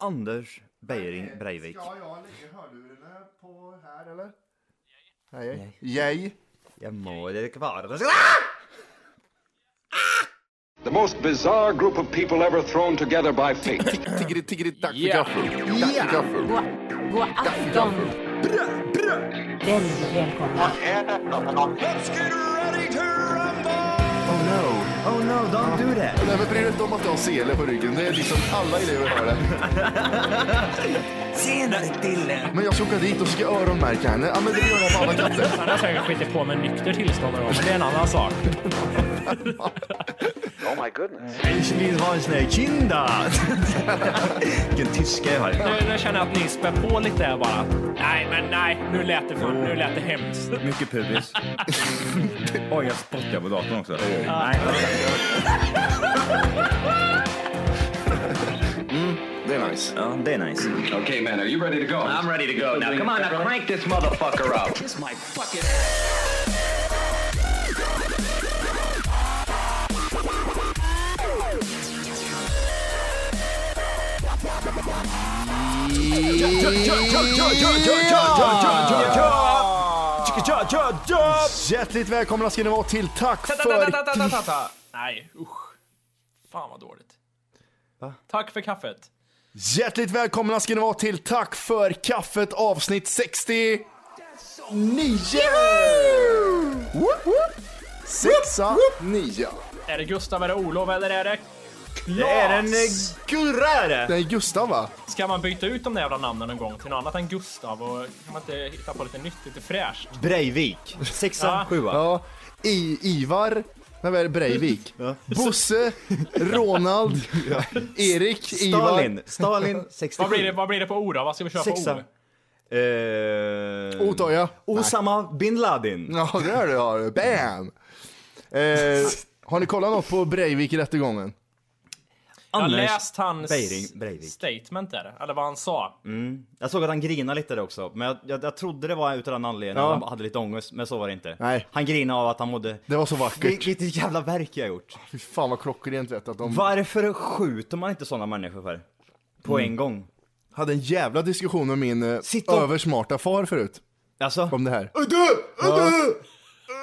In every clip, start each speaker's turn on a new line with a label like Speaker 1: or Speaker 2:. Speaker 1: Anders Beiring
Speaker 2: Nej,
Speaker 1: Breivik.
Speaker 2: Ska jag lägga hörlurarna på här eller? Nej. Nej. Yay.
Speaker 1: Jag må det kvar.
Speaker 3: The most bizarre group of people ever thrown together by fate.
Speaker 2: Tiggeri, tiggeri, dack för gaffel. Dack för gaffel.
Speaker 4: God, god afton! Väldigt välkomna.
Speaker 2: Oh no.
Speaker 1: Oh no, don't do that!
Speaker 2: Nej men bry dig inte om att du har sele på ryggen. Det är liksom alla elever har det.
Speaker 1: Senare killen!
Speaker 2: Men jag ska åka dit och ska öronmärka henne. Ja men det gör jag på alla katter.
Speaker 5: Han har säkert skitit på med nykter tillstånd någon gång, men det är en annan sak.
Speaker 3: Oh my goodness.
Speaker 1: Ich will was ne Kinder! Vilken tyska jag har.
Speaker 5: Nu, nu känner jag att ni spär på lite här bara. Nej, men nej, nu lät det, för, nu lät det hemskt.
Speaker 1: Mycket pubis.
Speaker 6: Oj, jag spottar på datorn också.
Speaker 1: Nej,
Speaker 2: Det är nice.
Speaker 1: ja, det är nice.
Speaker 3: Okay, man, are you ready to go? I'm ready to go. Now, come on, now crank this motherfucker out.
Speaker 2: Hjärtligt välkomna ska ni vara till Tack för...
Speaker 5: För... Nej, usch. Fan vad dåligt. Tack för kaffet.
Speaker 2: Hjärtligt välkomna ska ni vara till Tack för kaffet avsnitt 69! Woop, woop. Sexa, nia.
Speaker 5: Är det Gustav, är det Olof eller är det Klas?
Speaker 1: Det är en eh, gurra är det!
Speaker 2: Det är Gustav va?
Speaker 5: Ska man byta ut de där jävla namnen någon gång till något annat än Gustav? Och kan man inte hitta på lite nytt, lite fräscht?
Speaker 1: Breivik. Sexa,
Speaker 5: Ja.
Speaker 1: sjua.
Speaker 2: Ja. I, Ivar. Nej, vad är det? Breivik. Bosse, Ronald, Erik,
Speaker 1: Stalin.
Speaker 2: Ivar.
Speaker 1: Stalin,
Speaker 5: Vad blir det,
Speaker 1: 67.
Speaker 5: vad blir det på O då? Vad ska vi köra på O?
Speaker 1: Sexa. Eh,
Speaker 2: Otoja.
Speaker 1: Osama bin Laden.
Speaker 2: Ja, det är det har du. Bam! Eh, har ni kollat något på Breivik-rättegången?
Speaker 5: Jag har
Speaker 1: Anders
Speaker 5: läst hans
Speaker 1: Beiring, Breivik. Mm.
Speaker 5: statement där, eller vad han sa.
Speaker 1: Jag såg att han grinade lite där också, men jag, jag, jag trodde det var utav den anledningen
Speaker 2: Ja.
Speaker 1: att han hade lite ångest, men så var det inte.
Speaker 2: Nej.
Speaker 1: Han grinade av att han mådde...
Speaker 2: Det var så vackert.
Speaker 1: Vil- Vilket jävla verk jag har gjort.
Speaker 2: Fy fan vad klockrent vet att de
Speaker 1: Varför skjuter man inte sådana människor för? På
Speaker 2: Mm.
Speaker 1: en gång.
Speaker 2: hade en jävla diskussion med min eh,
Speaker 1: Sitt och-
Speaker 2: översmarta far förut.
Speaker 1: Alltså,
Speaker 2: Om det här. Du! Du!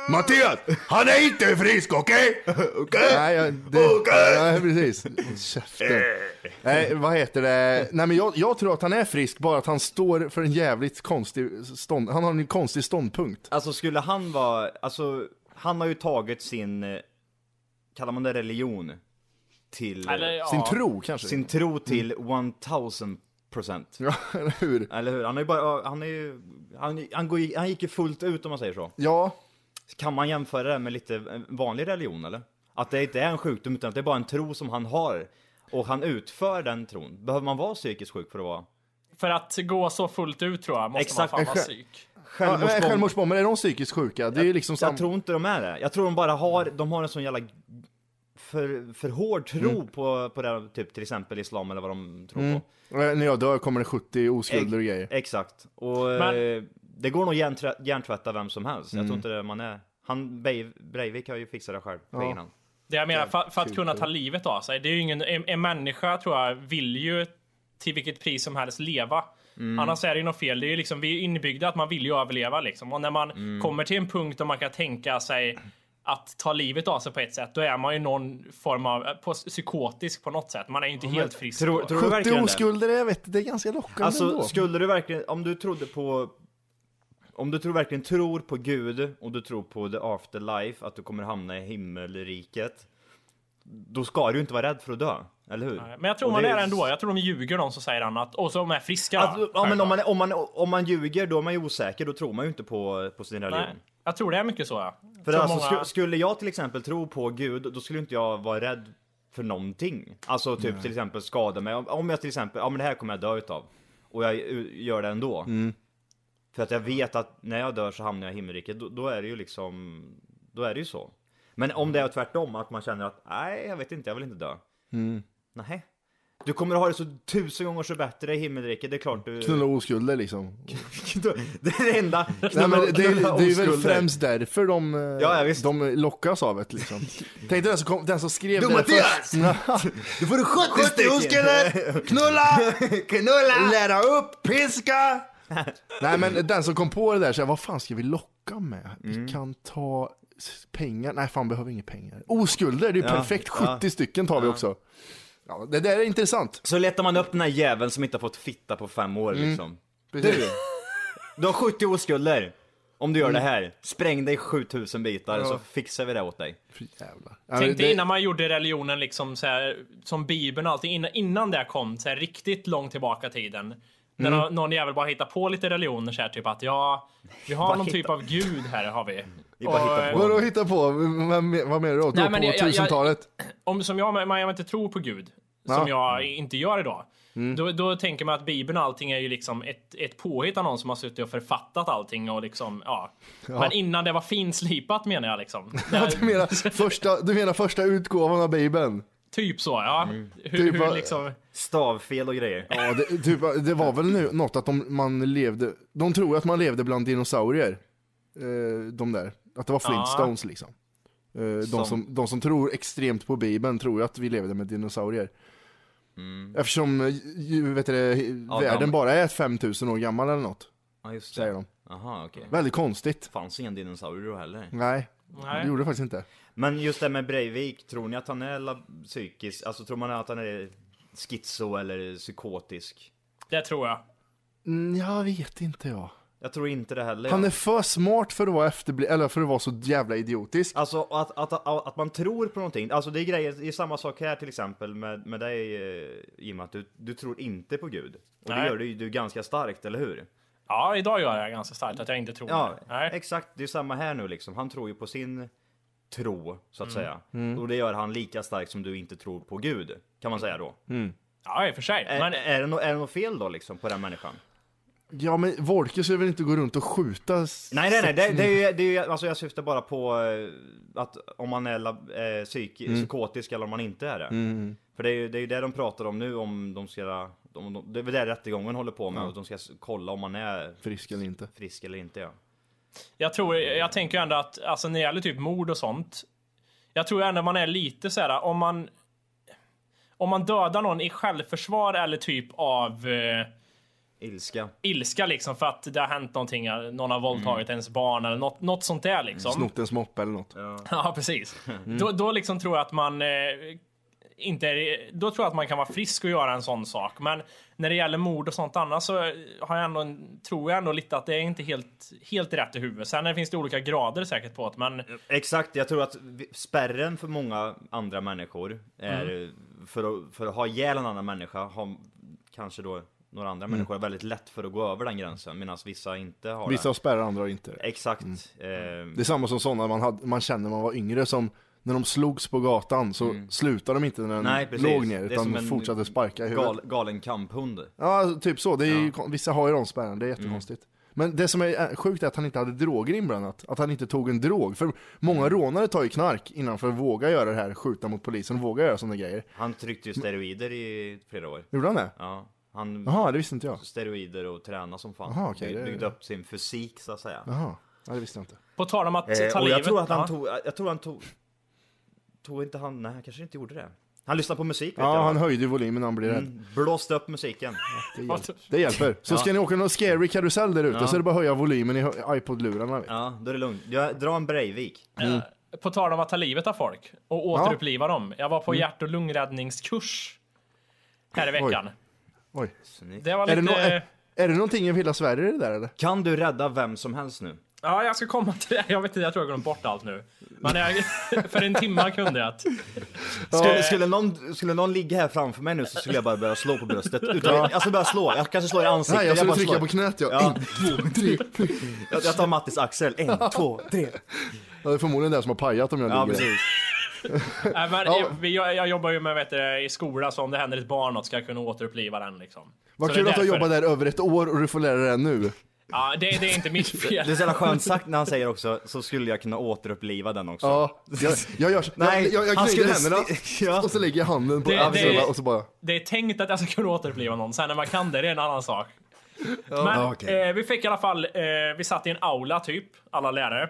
Speaker 2: Mattias! Han är inte frisk, okej? Okej? Nej, jag, det, nej, precis. Käften.
Speaker 1: Eh.
Speaker 2: Nej, vad heter det? Nej, men jag, jag tror att han är frisk, bara att han står för en jävligt konstig stånd... Han har en konstig ståndpunkt.
Speaker 1: alltså skulle han vara... Alltså, han har ju tagit sin... eh, Kallar man det religion? Till... eh,
Speaker 5: Eller, ja.
Speaker 2: Sin tro kanske?
Speaker 1: Sin
Speaker 2: Mm.
Speaker 1: tro till 1000 procent.
Speaker 2: Ja, eller hur?
Speaker 1: Eller hur? Han är ju bara... Han är ju... Han, han, går, ju- han gick ju fullt ut om man säger så.
Speaker 2: Ja,
Speaker 1: Kan man jämföra det med lite eh, vanlig religion eller? Att det inte är en sjukdom utan att det är bara en tro som han har. Och han utför den tron. Behöver man vara psykiskt sjuk för att vara?
Speaker 5: För att gå så fullt ut tror jag måste
Speaker 1: Exakt.
Speaker 5: man fan vara psyk.
Speaker 2: eh, självmordsbomb. självmordsbombare, är de psykiskt sjuka? Det är ju liksom
Speaker 1: Jag
Speaker 2: sam...
Speaker 1: tror inte de är det. Jag tror de bara har, de har en sån jävla för, för hård tro på, på det, här, typ till exempel islam eller vad de tror på.
Speaker 2: Eh, När jag dör kommer det 70 oskulder och grejer.
Speaker 1: Exakt. Och
Speaker 5: Men-
Speaker 1: eh, det går nog hjärnträ- hjärntvätta vem som helst. Jag tror inte det man är. Han, Bei- Breivik har ju fixat det själv på egen hand.
Speaker 5: Det jag menar, för, för att kunna ta livet av sig. Det är ju ingen, en, en människa tror jag vill ju till vilket pris som helst leva.
Speaker 1: Mm.
Speaker 5: Annars är det ju något fel. Det är ju liksom, vi är inbyggda att man vill ju överleva liksom. Och när man
Speaker 1: Mm.
Speaker 5: kommer till en punkt där man kan tänka sig att ta livet av sig på ett sätt, då är man ju någon form av eh, på, psykotisk på något sätt. Man är ju inte helt frisk.
Speaker 1: Tror,
Speaker 5: då.
Speaker 1: tror du
Speaker 2: 70
Speaker 1: verkligen det?
Speaker 2: oskulder, jag vet, det är ganska lockande
Speaker 1: Alltså
Speaker 2: ändå.
Speaker 1: skulle du verkligen, om du trodde på om du tror, verkligen tror på Gud och du tror på the afterlife, att du kommer hamna i himmelriket, då ska du ju inte vara rädd för att dö, eller hur?
Speaker 5: Men jag tror
Speaker 1: Och
Speaker 5: man
Speaker 1: det
Speaker 5: är det ändå. Jag tror de ljuger de som säger annat. Och som är friska. då,
Speaker 1: Alltså, ja, men
Speaker 5: självklart.
Speaker 1: om, man, om, man, om man ljuger då är man ju osäker, då tror man ju inte på, på sin religion.
Speaker 5: Nej, jag tror det är mycket så ja.
Speaker 1: För
Speaker 5: Så
Speaker 1: alltså,
Speaker 5: många-
Speaker 1: sku, skulle jag till exempel tro på Gud, då skulle inte jag vara rädd för någonting. Alltså typ till exempel skada mig. Om- Om jag till exempel, ja men det här kommer jag dö utav. Och jag u- gör det ändå.
Speaker 2: Mm.
Speaker 1: För att jag vet att när jag dör så hamnar jag i himmelriket. Då, då är det ju liksom, då är det ju så. Men om det är tvärtom, att man känner att nej, jag vet inte, jag vill inte dö. Mm. Nej. Du kommer att ha det så tusen gånger så bättre i himmelriket, det är klart du...
Speaker 2: Knulla oskulder liksom.
Speaker 1: det är det enda!
Speaker 2: Nej, men det, är,
Speaker 1: Knulla
Speaker 2: det är ju väl
Speaker 1: oskulder.
Speaker 2: främst därför de, eh,
Speaker 1: Ja, ja, visst.
Speaker 2: de lockas av det liksom. Tänk dig den som, kom, den som skrev det
Speaker 1: Mattias!
Speaker 2: Du får du 70
Speaker 1: stycken.
Speaker 2: knulla,
Speaker 1: Knulla!
Speaker 2: lära upp, piska! Nej men den som kom på det där, så här, vad fan ska vi locka med?
Speaker 1: Mm.
Speaker 2: Vi kan ta s- pengar, nej fan behöver inga pengar. Oskulder, det är ju
Speaker 1: Ja,
Speaker 2: perfekt,
Speaker 1: ja.
Speaker 2: 70 stycken tar vi också. Ja, det där är intressant.
Speaker 1: Så letar man upp den här jäveln som inte har fått fitta på fem år liksom.
Speaker 2: Precis.
Speaker 1: Du har 70 oskulder! Om du gör det här, spräng dig 7000 bitar så fixar vi det åt dig.
Speaker 2: Fy jävlar. Ja,
Speaker 5: Tänk dig
Speaker 2: det-
Speaker 5: innan man gjorde religionen liksom så här, som bibeln och allting, innan, innan det kom så här, riktigt långt tillbaka i tiden. När nå- någon jävel bara hittar på lite religioner så här, typ att ja, vi har
Speaker 1: Bara
Speaker 5: någon
Speaker 1: hitta-
Speaker 5: typ av gud här har vi.
Speaker 1: Vi bara
Speaker 5: Och,
Speaker 1: hittar på.
Speaker 2: Vadå hitta på? Vad men- vad menar du? Då?
Speaker 5: Nej, men
Speaker 2: på
Speaker 5: jag- jag- jag-
Speaker 2: 1000-talet?
Speaker 5: eh, Om som jag, man, man inte tror på gud, som jag inte gör idag. Då, då tänker man att bibeln och allting är ju liksom ett, ett påhitt av någon som har suttit och författat allting och liksom, ja. Men innan det var finslipat menar jag liksom.
Speaker 2: Du menar, första, du menar första utgåvan av Bibeln?
Speaker 5: typ så, ja. Hur,
Speaker 2: Typ
Speaker 5: hur
Speaker 2: bara-
Speaker 5: liksom...
Speaker 1: Stavfel och grejer.
Speaker 2: Ja, det, typ, det var väl nu, något att de, man levde, de tror att man levde bland dinosaurier. Eh, de där. Att det var Flintstones liksom. Eh, de,
Speaker 1: Som-
Speaker 2: som, de som tror extremt på Bibeln tror ju att vi levde med dinosaurier. Eftersom eh, ju, vet du, det,
Speaker 1: Mm. Ja,
Speaker 2: världen
Speaker 1: de-
Speaker 2: bara är 5000 år gammal eller något,
Speaker 1: Ja just
Speaker 2: säger
Speaker 1: det.
Speaker 2: de.
Speaker 1: Aha, okej.
Speaker 2: Väldigt konstigt.
Speaker 1: Fanns inga dinosaurier då heller.
Speaker 2: Nej,
Speaker 5: Nej.
Speaker 2: det gjorde det faktiskt inte.
Speaker 1: Men just det här med Breivik, tror ni att han är lab- psykisk, alltså tror man att han är schizo eller psykotisk?
Speaker 5: Det tror jag.
Speaker 2: Mm, jag vet inte jag.
Speaker 1: Jag tror inte det heller.
Speaker 2: Han
Speaker 1: ja.
Speaker 2: är för smart för att vara efterbli- eller för att vara så jävla idiotisk.
Speaker 1: Alltså att, att, att, att man tror på någonting, alltså det är grejer, det är samma sak här till exempel med, med dig eh, Jim, att du, du tror inte på Gud. Och det
Speaker 5: Nej.
Speaker 1: gör du ju du ganska starkt, eller hur?
Speaker 5: Ja, idag gör jag ganska starkt att jag inte tror
Speaker 1: Ja,
Speaker 5: det. Nej.
Speaker 1: exakt. Det är samma här nu liksom. Han tror ju på sin tro, så att
Speaker 5: Mm.
Speaker 1: säga. Och det gör han lika starkt som du inte tror på Gud, kan man säga då.
Speaker 5: Ja, i och för sig.
Speaker 1: Är,
Speaker 5: Mm. Men,
Speaker 1: är, det no, är det något fel då liksom på den människan?
Speaker 2: Ja men Wolke ska väl inte gå runt och skjuta? s-
Speaker 1: Nej, nej, nej. Det, det är ju, det är ju, alltså jag syftar bara på eh, att om man är lab, eh, psyk, psykotisk eller om man inte är det. För det är ju det, är ju det de pratar om nu om de ska, om de, det är väl det rättegången håller på med, och de ska s- kolla om man är
Speaker 2: Frisk eller inte.
Speaker 1: frisk eller inte. Ja.
Speaker 5: jag, tror, jag tänker ju ändå att alltså, när det gäller typ mord och sånt. Jag tror ändå man är lite så här om man. Om man dödar någon i självförsvar eller typ av eh,
Speaker 1: Ilska.
Speaker 5: ilska liksom för att det har hänt någonting. eh, Någon har våldtagit ens barn eller något, något sånt där liksom.
Speaker 2: Snott en moppe eller något.
Speaker 5: Ja, precis. Då, då liksom tror jag att man eh, inte är, då tror jag att man kan vara frisk och göra en sån sak. Men när det gäller mord och sånt annat så har jag ändå, en- tror jag ändå lite att det är inte helt, helt rätt i huvudet. Sen finns det olika grader säkert på det, men
Speaker 1: Exakt, jag tror att vi- spärren för många andra människor är eh, för, att, för att ha ihjäl en annan människa har kanske då några andra människor är väldigt lätt för att gå över den gränsen medan vissa inte har
Speaker 2: Vissa
Speaker 1: det.
Speaker 2: har spärrar, andra har inte det.
Speaker 1: Exakt. Eh,
Speaker 2: Det är samma som sådana man, hade, man kände när man var yngre som när de slogs på gatan så slutade de inte när den
Speaker 1: Mm. Nej precis.
Speaker 2: låg ner
Speaker 1: Det är
Speaker 2: utan
Speaker 1: som
Speaker 2: de
Speaker 1: en
Speaker 2: fortsatte sparka i huvudet.
Speaker 1: Gal, galen kamphund.
Speaker 2: Ja, typ så. Det är ju, Vissa har ju de spärrarna, det är
Speaker 1: Mm.
Speaker 2: jättekonstigt. Men det som är eh, sjukt är att han inte hade droger inblandat. Att han inte tog en drog. För många
Speaker 1: Mm.
Speaker 2: rånare tar ju knark innan för att våga göra det här, skjuta mot polisen och våga göra sådana grejer.
Speaker 1: Han tryckte ju steroider i flera år.
Speaker 2: Gjorde han det?
Speaker 1: Ja, han
Speaker 2: Jaha, det visste inte jag.
Speaker 1: steroider och tränade som fan.
Speaker 2: Aha, okej,
Speaker 1: By-
Speaker 2: det-
Speaker 1: Byggde upp sin fysik så att säga.
Speaker 2: Jaha, ja, det visste jag inte.
Speaker 5: på tal om att
Speaker 1: Eh,
Speaker 5: ta
Speaker 1: och
Speaker 5: livet.
Speaker 1: jag tror att han
Speaker 5: ja.
Speaker 1: tog, jag tror han tog, tog inte han, nej han kanske inte gjorde det. Han lyssnade på musik vet
Speaker 2: Ja,
Speaker 1: jag.
Speaker 2: han höjde ju volymen när han blev rädd.
Speaker 1: Mm, Blåste upp musiken.
Speaker 2: Det, hjälper. det hjälper. Så ska ni åka någon scary karusell där ute så är det bara att höja volymen i hö- iPod-lurarna. vet du.
Speaker 1: Ja, då är det lugnt. Jag, dra en Breivik.
Speaker 5: Eh, På tal om att ta livet av folk och återuppliva dem. Jag var på
Speaker 1: Mm.
Speaker 5: hjärt och lungräddningskurs här i veckan.
Speaker 2: Oj.
Speaker 1: Snyggt.
Speaker 5: Det var
Speaker 2: Är
Speaker 5: lite...
Speaker 2: det, nå-
Speaker 1: eh?
Speaker 2: är, är det någonting i hela Sverige det där eller?
Speaker 1: Kan du rädda vem som helst nu?
Speaker 5: Ja, jag ska komma till det. Jag vet inte, jag tror jag glömt bort allt nu. Men jag, för en timme kunde jag.
Speaker 1: Skulle, skulle, någon, skulle någon ligga här framför mig nu så skulle jag bara börja slå på bröstet. Utan, jag skulle börja slå, jag kanske slår i ansiktet.
Speaker 2: Nej, jag skulle
Speaker 1: bara
Speaker 2: trycka
Speaker 1: slår.
Speaker 2: på knät jag.
Speaker 1: Ja.
Speaker 2: En, två, tre.
Speaker 1: Jag, jag tar Mattis axel, en, två, tre.
Speaker 2: Ja, det är förmodligen det som har pajat om jag
Speaker 1: Ja,
Speaker 2: ligger där.
Speaker 1: precis.
Speaker 5: Äh, men,
Speaker 2: Ja.
Speaker 5: vi- jag, jag jobbar ju med vet du, i skola, så om det händer ett barn något ska jag kunna återuppliva den. Liksom.
Speaker 2: Vad
Speaker 5: Så
Speaker 2: kul
Speaker 5: det är
Speaker 2: att du har
Speaker 5: därför.
Speaker 2: jobbat där över ett år och du får lära dig det nu.
Speaker 5: Ja, det, det är inte mitt fel.
Speaker 1: Det är så jävla skönt sagt när han säger också, så skulle jag kunna återuppliva den också.
Speaker 2: Ja, jag, jag gör så.
Speaker 1: Nej,
Speaker 2: jag, jag, jag
Speaker 1: han
Speaker 2: knyter
Speaker 1: skulle
Speaker 2: händerna
Speaker 1: sti- Ja.
Speaker 2: och så lägger jag handen på
Speaker 5: Det-
Speaker 2: axlarna
Speaker 5: det-
Speaker 2: och så bara...
Speaker 5: Det är tänkt att jag ska kunna återuppliva någon, sen när man kan det, det är en annan sak. Men
Speaker 2: Ja, okej.
Speaker 5: eh, vi fick i alla fall, eh, vi satt i en aula typ, alla lärare.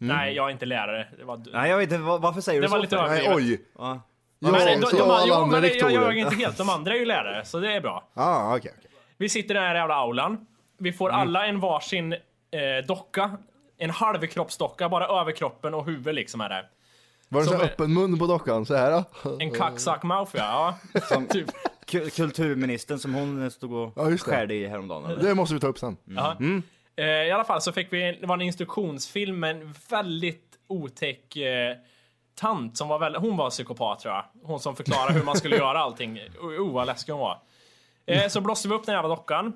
Speaker 2: Mm.
Speaker 5: Nej, jag är inte lärare. Det var,
Speaker 1: Nej jag vet inte, va- varför säger
Speaker 5: det
Speaker 1: du så?
Speaker 5: var lite
Speaker 1: för?
Speaker 5: överdrivet.
Speaker 2: Nej, oj.
Speaker 1: Ja.
Speaker 2: Ja,
Speaker 5: Men, de,
Speaker 2: så
Speaker 5: de, de,
Speaker 2: alla
Speaker 5: jo,
Speaker 2: andra
Speaker 5: men det- jag, jag är
Speaker 2: rektorer.
Speaker 5: inte helt, de andra är ju lärare, så det är bra.
Speaker 2: Ah, okej. okej.
Speaker 5: Vi sitter i den här jävla aulan. Vi får alla en varsin eh, docka. En halvkroppsdocka, bara överkroppen och huvud liksom är det.
Speaker 2: Var det så
Speaker 5: Som
Speaker 2: här
Speaker 5: är-
Speaker 2: öppen mun på dockan så här? ah. då?
Speaker 5: En kacksack mouth ja. ja. typ.
Speaker 1: Ku- Kulturministern som hon stod och
Speaker 2: Ja, just det.
Speaker 1: skärde i häromdagen. Eller?
Speaker 2: Det måste vi ta upp sen.
Speaker 5: Jaha. Eh, I alla fall så fick vi, det var en instruktionsfilm med en väldigt otäck eh, tant som var väldigt, hon var psykopat tror jag. Hon som förklarade hur man skulle göra allting. Oh, vad läskig hon var. Eh, så blåste vi upp den jävla dockan.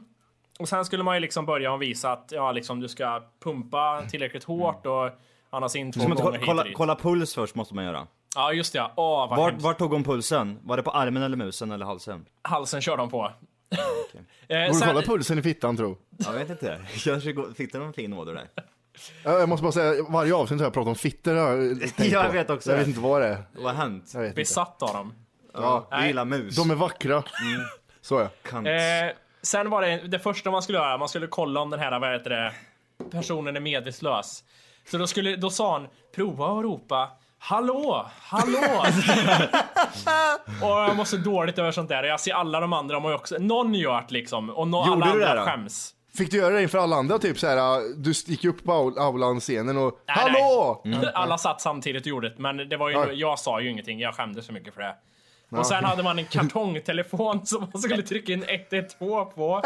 Speaker 5: Och sen skulle man ju liksom börja och visa att ja, liksom, du ska pumpa tillräckligt hårt och annars in två
Speaker 1: Ska man
Speaker 5: gånger
Speaker 1: inte
Speaker 5: hit
Speaker 1: kolla,
Speaker 5: och dit.
Speaker 1: kolla puls först måste man göra.
Speaker 5: Ja just det, ja. Åh, vad
Speaker 1: Vart,
Speaker 5: hemskt.
Speaker 1: vart tog hon pulsen? Var det på armen eller musen eller halsen?
Speaker 5: halsen kör de på. Eh,
Speaker 2: Borde
Speaker 5: sen-
Speaker 2: kolla pulsen i fittan tro.
Speaker 1: Jag vet inte. Kanske går- fick den någon fin åder där.
Speaker 2: Ja, Jag måste bara säga, varje avsnitt har jag pratat om fittor. har Jag, tänkt på.
Speaker 1: Jag vet också
Speaker 2: Jag
Speaker 1: det.
Speaker 2: vet inte vad det är.
Speaker 1: Vad har hänt?
Speaker 2: Jag vet inte.
Speaker 5: besatt av dem.
Speaker 1: Ja, vi
Speaker 5: Nej.
Speaker 1: gillar mus.
Speaker 2: De är vackra. Så ja.
Speaker 1: Kant.
Speaker 5: Eh, sen var det det första man skulle göra, man skulle kolla om den här, vad heter det, personen är medvetslös. Så då, skulle, då sa han, prova att ropa Hallå! Hallå! och jag mår så dåligt över sånt där. Och Jag ser alla de andra, de har ju också, någon gör det liksom. Och no,
Speaker 1: Gjorde
Speaker 5: alla
Speaker 1: du det
Speaker 5: andra
Speaker 1: då?
Speaker 5: skäms.
Speaker 2: Fick du göra det inför alla andra? Typ så här, äh, du gick upp på au- aulan-scenen och
Speaker 5: Nej, Mm.
Speaker 2: Hallå!
Speaker 5: nej. Alla satt samtidigt och gjorde det, men det var ju,
Speaker 2: Ja.
Speaker 5: jag sa ju ingenting. Jag skämdes så mycket för det. Och sen hade man en kartongtelefon som man skulle trycka in 112 på.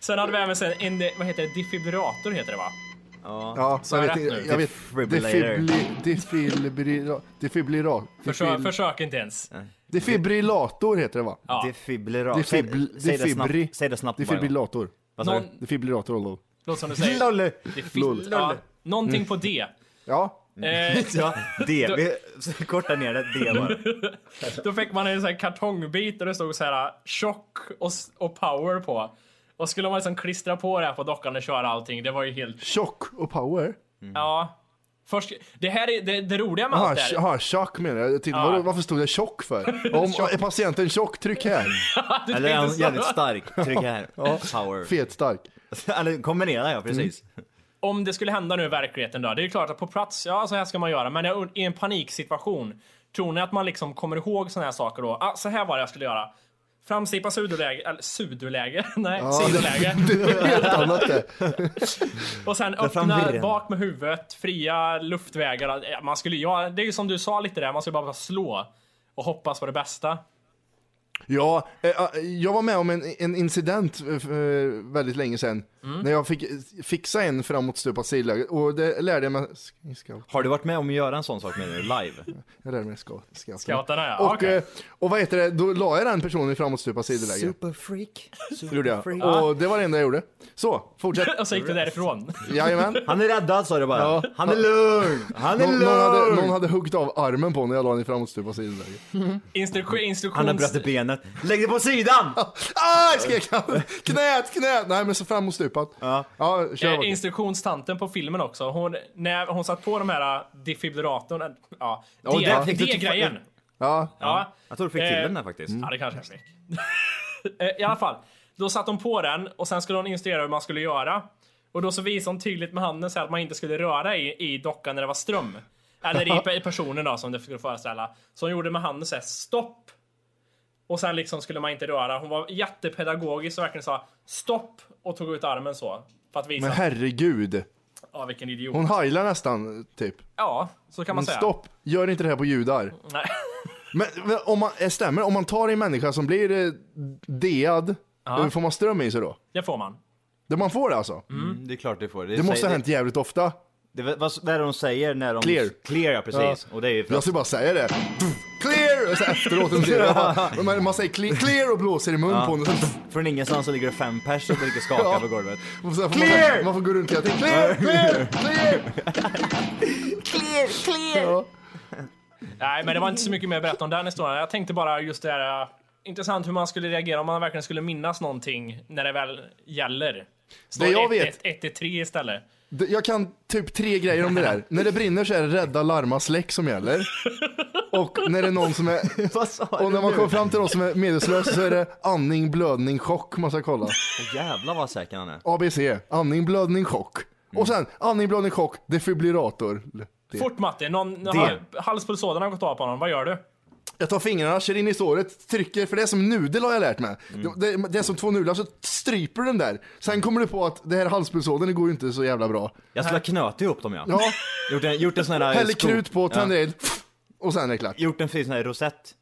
Speaker 5: sen hade vi även sen en, vad heter det, defibrator heter det va?
Speaker 2: Ja,
Speaker 5: Så
Speaker 2: jag
Speaker 5: är
Speaker 2: vet
Speaker 5: det
Speaker 2: inte.
Speaker 5: nu.
Speaker 2: Jag vet.
Speaker 1: Defibrillator.
Speaker 2: defibri- defibri- defibri-
Speaker 5: Försök,
Speaker 2: defibri-
Speaker 5: försök inte ens.
Speaker 2: Defibrillator heter det va?
Speaker 5: Ja.
Speaker 1: Defibrera- Säg,
Speaker 2: Defibri-
Speaker 1: säg det
Speaker 2: defibri-
Speaker 1: snabbt. Säg det snabbt bara.
Speaker 2: Defibrillator.
Speaker 1: Vad sa du?
Speaker 5: Någon,
Speaker 2: Defibrillator, lol.
Speaker 5: låt som du säger.
Speaker 1: Lolle.
Speaker 5: Defib- Ja, någonting på D.
Speaker 2: Mm. Ja, Mm.
Speaker 5: Eh,
Speaker 1: Ja, det. Vi kortar ner det. Det bara.
Speaker 5: Då fick man en sån här kartongbit och det stod så här tjock och, s- och power på. Och skulle man liksom klistra på det här på dockan och köra allting. Det var ju helt...
Speaker 2: tjock och power.
Speaker 5: Ja. Först, det här är det, det roliga med
Speaker 2: Jaha,
Speaker 5: allt det
Speaker 2: tj-
Speaker 5: här.
Speaker 2: aha, tjock menar jag. jag. Tänkte,
Speaker 5: Ja.
Speaker 2: vadå, varför stod det tjock för? Om är patienten tjock, tryck här.
Speaker 5: Du
Speaker 1: Eller är
Speaker 5: tänkte
Speaker 1: han
Speaker 5: så.
Speaker 1: jävligt stark? Tryck här. Power.
Speaker 2: Fet stark.
Speaker 1: Eller kombinera ja, precis.
Speaker 2: Mm.
Speaker 5: Om det skulle hända nu i verkligheten då. Det är ju klart att på plats, ja så här ska man göra. Men jag und- i en paniksituation. Tror ni att man liksom kommer ihåg såna här saker då? Ah, så här var det jag skulle göra. Framsippa sudoläge, eller sudoläge? Nej, sidoläge.
Speaker 2: Helt annat det.
Speaker 5: Och sen
Speaker 1: fram
Speaker 5: öppna
Speaker 1: virren.
Speaker 5: bak med huvudet, fria luftvägar. Ja, Man skulle, ja, det är ju som du sa lite där, man skulle bara slå och hoppas på det bästa.
Speaker 2: Ja, eh, eh, jag var med om en, en incident eh, för väldigt länge sedan.
Speaker 5: Mm.
Speaker 2: När jag fick eh, fixa en framåtstupad sidläge. Och det lärde jag mig... sk- Ska,
Speaker 1: Har du varit med om att göra en sån sak menar du? Live?
Speaker 2: jag lärde mig ska, ska,
Speaker 5: Scoutarna ja,
Speaker 2: Och,
Speaker 5: okej.
Speaker 2: eh, och vad heter det, då la jag den personen i framåtstupad sidoläge.
Speaker 1: Superfreak.
Speaker 2: Gjorde jag. Och det var det enda jag gjorde. Så, fortsätt.
Speaker 5: Och så gick du därifrån.
Speaker 2: Jajamän.
Speaker 1: Han är räddad sa du bara.
Speaker 2: Ja.
Speaker 1: Han är lugn. Han är
Speaker 2: Någon, någon, hade,
Speaker 1: lugn.
Speaker 2: någon hade huggit av armen på när jag la den i framåtstupad sidoläge.
Speaker 5: Instruktion,
Speaker 1: Han har brutit
Speaker 5: instruktions...
Speaker 1: benet. Lägg det på sidan!
Speaker 2: Aj, Ah, skrek han. Knät, knät. Nej, men så framåtstupat. Ja, ja kör.
Speaker 5: Eh,
Speaker 2: Volker.
Speaker 5: instruktionstanten på filmen också. Hon, när hon satt på de här äh, defibrillatorn, äh, ja,
Speaker 1: Och
Speaker 5: det,
Speaker 1: där
Speaker 5: det,
Speaker 1: fick du-
Speaker 5: grejen.
Speaker 2: ja.
Speaker 5: Ja. Mm.
Speaker 1: Jag tror du fick
Speaker 2: Eh,
Speaker 1: till den där faktiskt. Mm.
Speaker 2: mm.
Speaker 5: ja, det kanske jag fick. Eh, I alla fall, då satte hon på den och sen skulle hon instruera hur man skulle göra. Och då så visade hon tydligt med handen så här att man inte skulle röra i, i dockan när det var ström. Eller i, pe- i personen då som det skulle föreställa. Så hon gjorde med handen så här stopp. Och sen liksom skulle man inte röra. Hon var jättepedagogisk och verkligen sa stopp och tog ut armen så. För att visa,
Speaker 2: Men herregud.
Speaker 5: ja vilken idiot.
Speaker 2: Hon heilar nästan, typ.
Speaker 5: Ja, så kan man
Speaker 2: Men
Speaker 5: säga.
Speaker 2: stopp, gör inte det här på judar.
Speaker 5: Nej.
Speaker 2: Men, men om man, eh, stämmer om man tar en människa som blir eh, dead, eh, får man ström i sig då?
Speaker 5: Det får man.
Speaker 2: Det man får det alltså?
Speaker 1: Det är klart du får.
Speaker 2: det måste ha hänt jävligt ofta.
Speaker 1: Mm. Det, det, vad, vad är det de säger när de...
Speaker 2: Clear.
Speaker 1: Clear ja, precis.
Speaker 2: Ja.
Speaker 1: Och det är ju för
Speaker 2: Jag
Speaker 1: att...
Speaker 2: skulle bara säga det. Clear! Och så efteråt, en del. Men man, man säger cle- clear och blåser i mun på honom.
Speaker 1: Från ingenstans så ligger det fem pers och ligger skaka
Speaker 2: Ja.
Speaker 1: på golvet.
Speaker 2: Och så här får
Speaker 1: Clear!
Speaker 2: Man, man får gå runt hela tiden. Clear! Clear! Clear!
Speaker 5: Nej, men det var inte så mycket mer att berätta om den historien. Jag tänkte bara just det här äh, intressant hur man skulle reagera om man verkligen skulle minnas någonting när det väl gäller. Står
Speaker 2: Det jag
Speaker 5: 1,
Speaker 2: vet-
Speaker 5: 1, 1 till 3 istället.
Speaker 2: D- Jag kan typ tre grejer om det där. När det brinner så är det rädda, larma, släck som gäller. Och när det är någon som är...
Speaker 1: Vad sa
Speaker 2: Och när man kommer fram till någon som är medvetslös så är det andning, blödning, chock man ska kolla.
Speaker 1: Åh, jävlar vad säker han är.
Speaker 2: ABC, andning, blödning, chock. Och sen andning, blödning, chock, defibrillator. Det.
Speaker 5: Fort Matte, någon,
Speaker 1: Det.
Speaker 5: halspulsådern har gått av på honom, vad gör du?
Speaker 2: Jag tar fingrarna, kör in i såret, trycker, för det är som nudel har jag lärt mig. Det, det, det är som två nudlar, så stryper du den där. Sen kommer du på att det här halspulsådern, det går ju inte så jävla bra.
Speaker 1: Jag skulle ha knutit ihop dem ja.
Speaker 2: Ja,
Speaker 1: Gjort en, gjort en sån här...
Speaker 2: häller
Speaker 1: stor-
Speaker 2: krut på,
Speaker 1: Ja.
Speaker 2: tänder eld, och sen är det klart.
Speaker 1: Gjort en fin sån här rosett.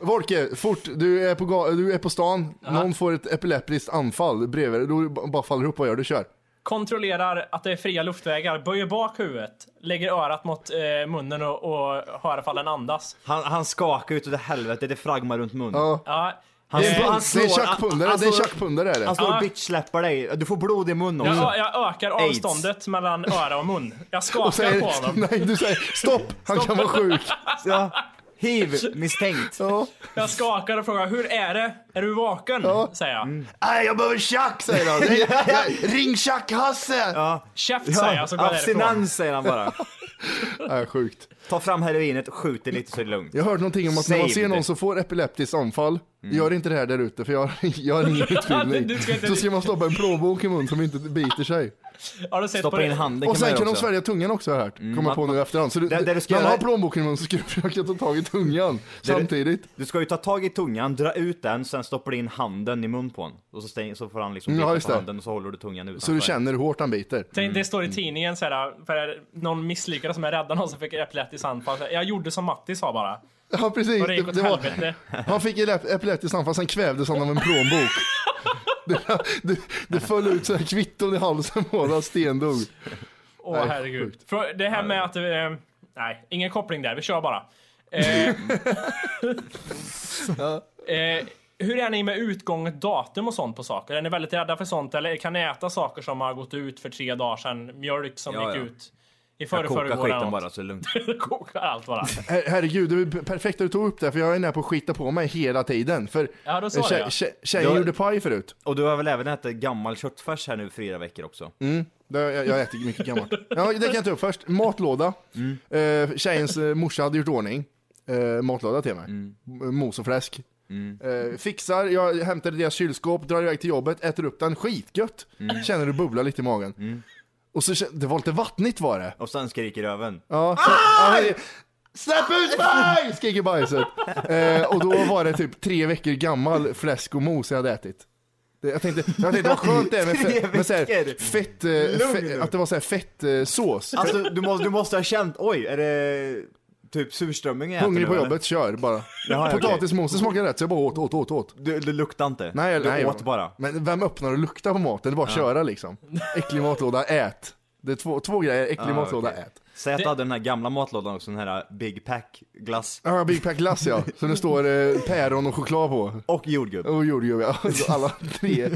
Speaker 2: Volke, fort, du är på, ga- du är på stan, någon får ett epileptiskt anfall bredvid dig, då bara faller ihop, vad gör du? Kör.
Speaker 5: Kontrollerar att det är fria luftvägar, böjer bak huvudet, lägger örat mot eh, munnen och, och hör ifall den andas.
Speaker 1: Han, han skakar ut åt helvete, det fragmar runt munnen.
Speaker 2: Ja.
Speaker 5: Ja,
Speaker 1: Han,
Speaker 2: Det är en-
Speaker 1: han
Speaker 2: det är en
Speaker 1: slår-
Speaker 2: tjackpundare,
Speaker 1: han-
Speaker 2: det är en
Speaker 1: han slår-
Speaker 2: tjackpundare är det.
Speaker 1: Han står
Speaker 5: Ja.
Speaker 1: och bitchsläpper dig. Du får blod i munnen också.
Speaker 5: jag, jag ökar
Speaker 1: Aids.
Speaker 5: avståndet mellan öra och mun. Jag
Speaker 2: Och
Speaker 5: skakar
Speaker 2: säger,
Speaker 5: på honom.
Speaker 2: nej, du säger stopp, han kan vara sjuk.
Speaker 1: Ja. Hiv, misstänkt.
Speaker 2: Ja.
Speaker 5: Jag skakar och frågar hur är det? Är du vaken? Säger jag.
Speaker 1: Mm.
Speaker 2: Nej, jag behöver tjack säger han. Nej, nej, Ring tjack-Hasse! Ja.
Speaker 5: Käft säger jag så går jag därifrån.
Speaker 1: abstinens säger han bara.
Speaker 2: sjukt.
Speaker 1: Ta fram heroinet, skjut det lite så är det lugnt.
Speaker 2: Jag hörde någonting om att när man
Speaker 1: Saved.
Speaker 2: ser någon som får epileptiskt anfall, gör inte det här där ute för jag, jag har ingen utbildning.
Speaker 5: Du ska inte-
Speaker 2: Så ska man stoppa en plåbok i munnen som inte biter sig.
Speaker 5: Har du sett på
Speaker 1: Stoppa in
Speaker 5: det?
Speaker 1: handen
Speaker 2: Och
Speaker 1: kan man
Speaker 2: sen
Speaker 1: göra
Speaker 2: kan de
Speaker 1: också. Mm,
Speaker 2: svälja tungan också har jag hört. Kommer på nu i efterhand. Så du,
Speaker 1: Det- det du ska
Speaker 2: när man har
Speaker 1: göra-
Speaker 2: plånboken i munnen så ska du försöka ta tag i tungan
Speaker 1: du-
Speaker 2: samtidigt.
Speaker 1: Du ska ju ta tag i tungan, dra ut den, sen stoppar du in handen i mun på honom. Och så, stäng, så får han liksom
Speaker 2: Mm, ja,
Speaker 1: bita
Speaker 2: just
Speaker 1: på
Speaker 2: det.
Speaker 1: handen och så håller du tungan utanför.
Speaker 2: Så du känner hur hårt han biter.
Speaker 5: Tänk,
Speaker 1: Mm.
Speaker 5: Det står i tidningen så här, för någon misslyckades som är rädda någon som fick epileptisk anfall. Så här, Jag gjorde som Matti sa bara.
Speaker 2: Ja precis.
Speaker 5: Och det gick
Speaker 2: Det-
Speaker 5: åt
Speaker 2: det var-
Speaker 5: helvete.
Speaker 2: Han fick elep- epileptiskt anfall, sen kvävdes han av en plånbok. Det, det, det föll ut så här kvitton i halsen på honom, stendog.
Speaker 5: Åh
Speaker 2: Nej,
Speaker 5: herregud.
Speaker 2: sjukt.
Speaker 5: För det här med att... Eh, nej, ingen koppling där. Vi kör bara. Eh, eh, hur är ni med utgånget datum och sånt på saker? Är ni väldigt rädda för sånt? Eller kan ni äta saker som har gått ut för tre dagar sedan? Mjölk som
Speaker 1: Ja,
Speaker 5: gick
Speaker 1: ja.
Speaker 5: ut i
Speaker 1: Jag
Speaker 5: förrgår
Speaker 1: kokar
Speaker 5: eller
Speaker 1: skiten
Speaker 5: något.
Speaker 1: bara så är det lugnt.
Speaker 5: Kokar allt bara.
Speaker 2: Her herregud, det var perfekt att du tog upp det, för jag är nära på att skita på mig hela tiden. För
Speaker 5: Ja, då sa
Speaker 2: tje-
Speaker 5: det, ja.
Speaker 2: tje- tjejen
Speaker 1: Jag-
Speaker 2: gjorde paj förut.
Speaker 1: Och du har väl även ätit gammal köttfärs här nu fyra veckor också?
Speaker 2: Mm. Det, jag, jag äter mycket gammalt. Ja, det kan jag ta upp först. Matlåda. Mm. tjejens eh, morsa hade gjort ordning. Eh, matlåda till mig. M- Mos och fläsk. Eh, fixar, jag hämtar deras kylskåp, drar iväg till jobbet, äter upp den skitgött. Känner hur det bubblar lite i magen. Och så kän- det var lite vattnigt var det.
Speaker 1: Och sen skriker röven.
Speaker 2: Ja, så, ja,
Speaker 1: Ah!
Speaker 2: hej. Släpp ut mig! Skriker bajset. Eh, och då var det typ tre veckor gammal fläsk och mos jag hade ätit. Det, jag tänkte, jag tänkte vad skönt det är med,
Speaker 1: Tre
Speaker 2: fe, med så här,
Speaker 1: veckor.
Speaker 2: fett, eh,
Speaker 1: Lugn
Speaker 2: fe,
Speaker 1: nu.
Speaker 2: att det var så här fett eh, sås.
Speaker 1: Alltså du måste, du måste ha känt, oj är det typ surströmming jag äter
Speaker 2: Hungrig
Speaker 1: nu,
Speaker 2: på
Speaker 1: eller?
Speaker 2: jobbet, kör bara.
Speaker 1: Jaha, ja,
Speaker 2: Potatismos, det smakade rätt så jag bara åt, åt, åt, åt.
Speaker 1: Du, du luktar inte?
Speaker 2: Nej, jag-
Speaker 1: du
Speaker 2: nej, jag-
Speaker 1: åt bara?
Speaker 2: Men vem öppnar och luktar på maten? Det är bara att köra liksom. Äcklig matlåda, ät. Det är två, två grejer, äcklig matlåda,
Speaker 1: Ah, okej.
Speaker 2: ät.
Speaker 1: Säg att du hade den här gamla matlådan också, den här Big Pack glass
Speaker 2: Ja, Big Pack glass ja. Så det står eh, päron och choklad på.
Speaker 1: och jordgubb.
Speaker 2: Och jordgubb ja. Så Alla tre.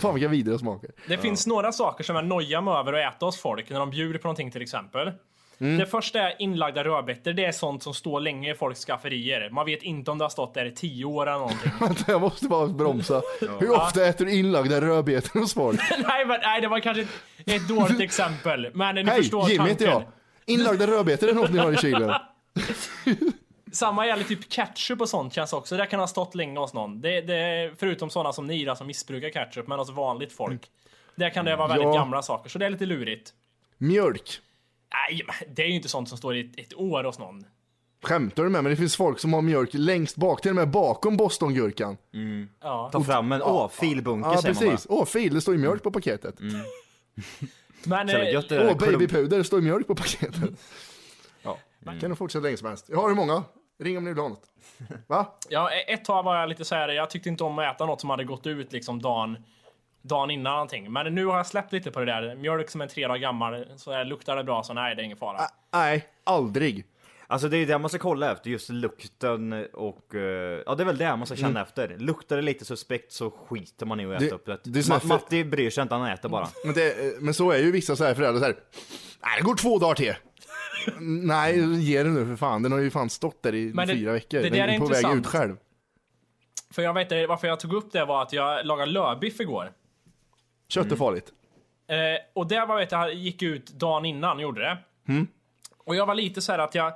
Speaker 2: Fan vilka vidriga smaker.
Speaker 5: Det finns några saker som jag nojar mig över att äta hos folk när de bjuder på någonting till exempel.
Speaker 1: Mm.
Speaker 5: Det första är inlagda rödbetor. Det är sånt som står länge i folks skafferier. Man vet inte om det har stått där i tio år eller någonting.
Speaker 2: Vänta, Jag måste bara bromsa. Hur ofta äter du inlagda rödbetor hos folk?
Speaker 5: nej, men, nej, det var kanske ett, ett dåligt exempel. Men ni
Speaker 2: Hej,
Speaker 5: förstår
Speaker 2: Jimmy heter
Speaker 5: tanken.
Speaker 2: jag. Inlagda rödbetor är något ni har i kylen.
Speaker 5: Samma gäller typ ketchup och sånt känns också. Det där kan ha stått länge hos någon. Det, det, förutom sådana som ni då, som missbrukar ketchup, men hos vanligt folk. Där kan det vara väldigt
Speaker 2: Ja.
Speaker 5: gamla saker, så det är lite lurigt.
Speaker 2: Mjölk.
Speaker 5: Nej, men det är ju inte sånt som står i ett, ett år hos någon.
Speaker 2: Skämtar du med mig? Det finns folk som har mjölk längst bak, till och med bakom bostongurkan.
Speaker 5: Ja.
Speaker 1: Ta fram en, åh, filbunke
Speaker 2: Ja,
Speaker 1: säger man
Speaker 2: precis. Åh, fil, det står ju mjölk på paketet.
Speaker 5: Men,
Speaker 1: bara.
Speaker 5: eh,
Speaker 1: Jävla gött det
Speaker 2: Åh,
Speaker 1: där, klump.
Speaker 2: babypuder, det står ju mjölk på paketet. Mm.
Speaker 1: Ja.
Speaker 2: Kan du fortsätta länge som helst. Jag har hur många? Ring om ni vill ha något. Va?
Speaker 5: Ja, e- ett tag var jag lite så här. jag tyckte inte om att äta något som hade gått ut liksom dagen, dagen innan någonting. Men nu har jag släppt lite på det där. Mjölk som är tre dagar gammal, så här, luktar det bra så nej, det är ingen fara.
Speaker 2: Nej, aldrig.
Speaker 1: Alltså det är det man ska kolla efter, just lukten och... eh, Ja det är väl det man ska känna efter. Luktar det lite suspekt så skiter man i att äta
Speaker 2: Mm. Det-
Speaker 1: upp det.
Speaker 2: det är så
Speaker 1: Ma-
Speaker 2: här för-
Speaker 1: Matti bryr sig inte, han äter bara.
Speaker 2: eh, Men, det, men så är ju vissa så här föräldrar så här. Nej, det går två dagar till. Nej, ge den nu för fan. Den har ju fan stått där i
Speaker 5: Men det-
Speaker 2: fyra veckor.
Speaker 5: det där
Speaker 2: den
Speaker 5: är
Speaker 2: på väg
Speaker 5: intressant.
Speaker 2: ut själv.
Speaker 5: För jag vet inte varför jag tog upp det var att jag lagade lövbiff igår. Mm.
Speaker 2: Kött är farligt.
Speaker 5: Eh, och det var vet jag gick ut dagen innan, gjorde det. Och jag var lite så här att jag...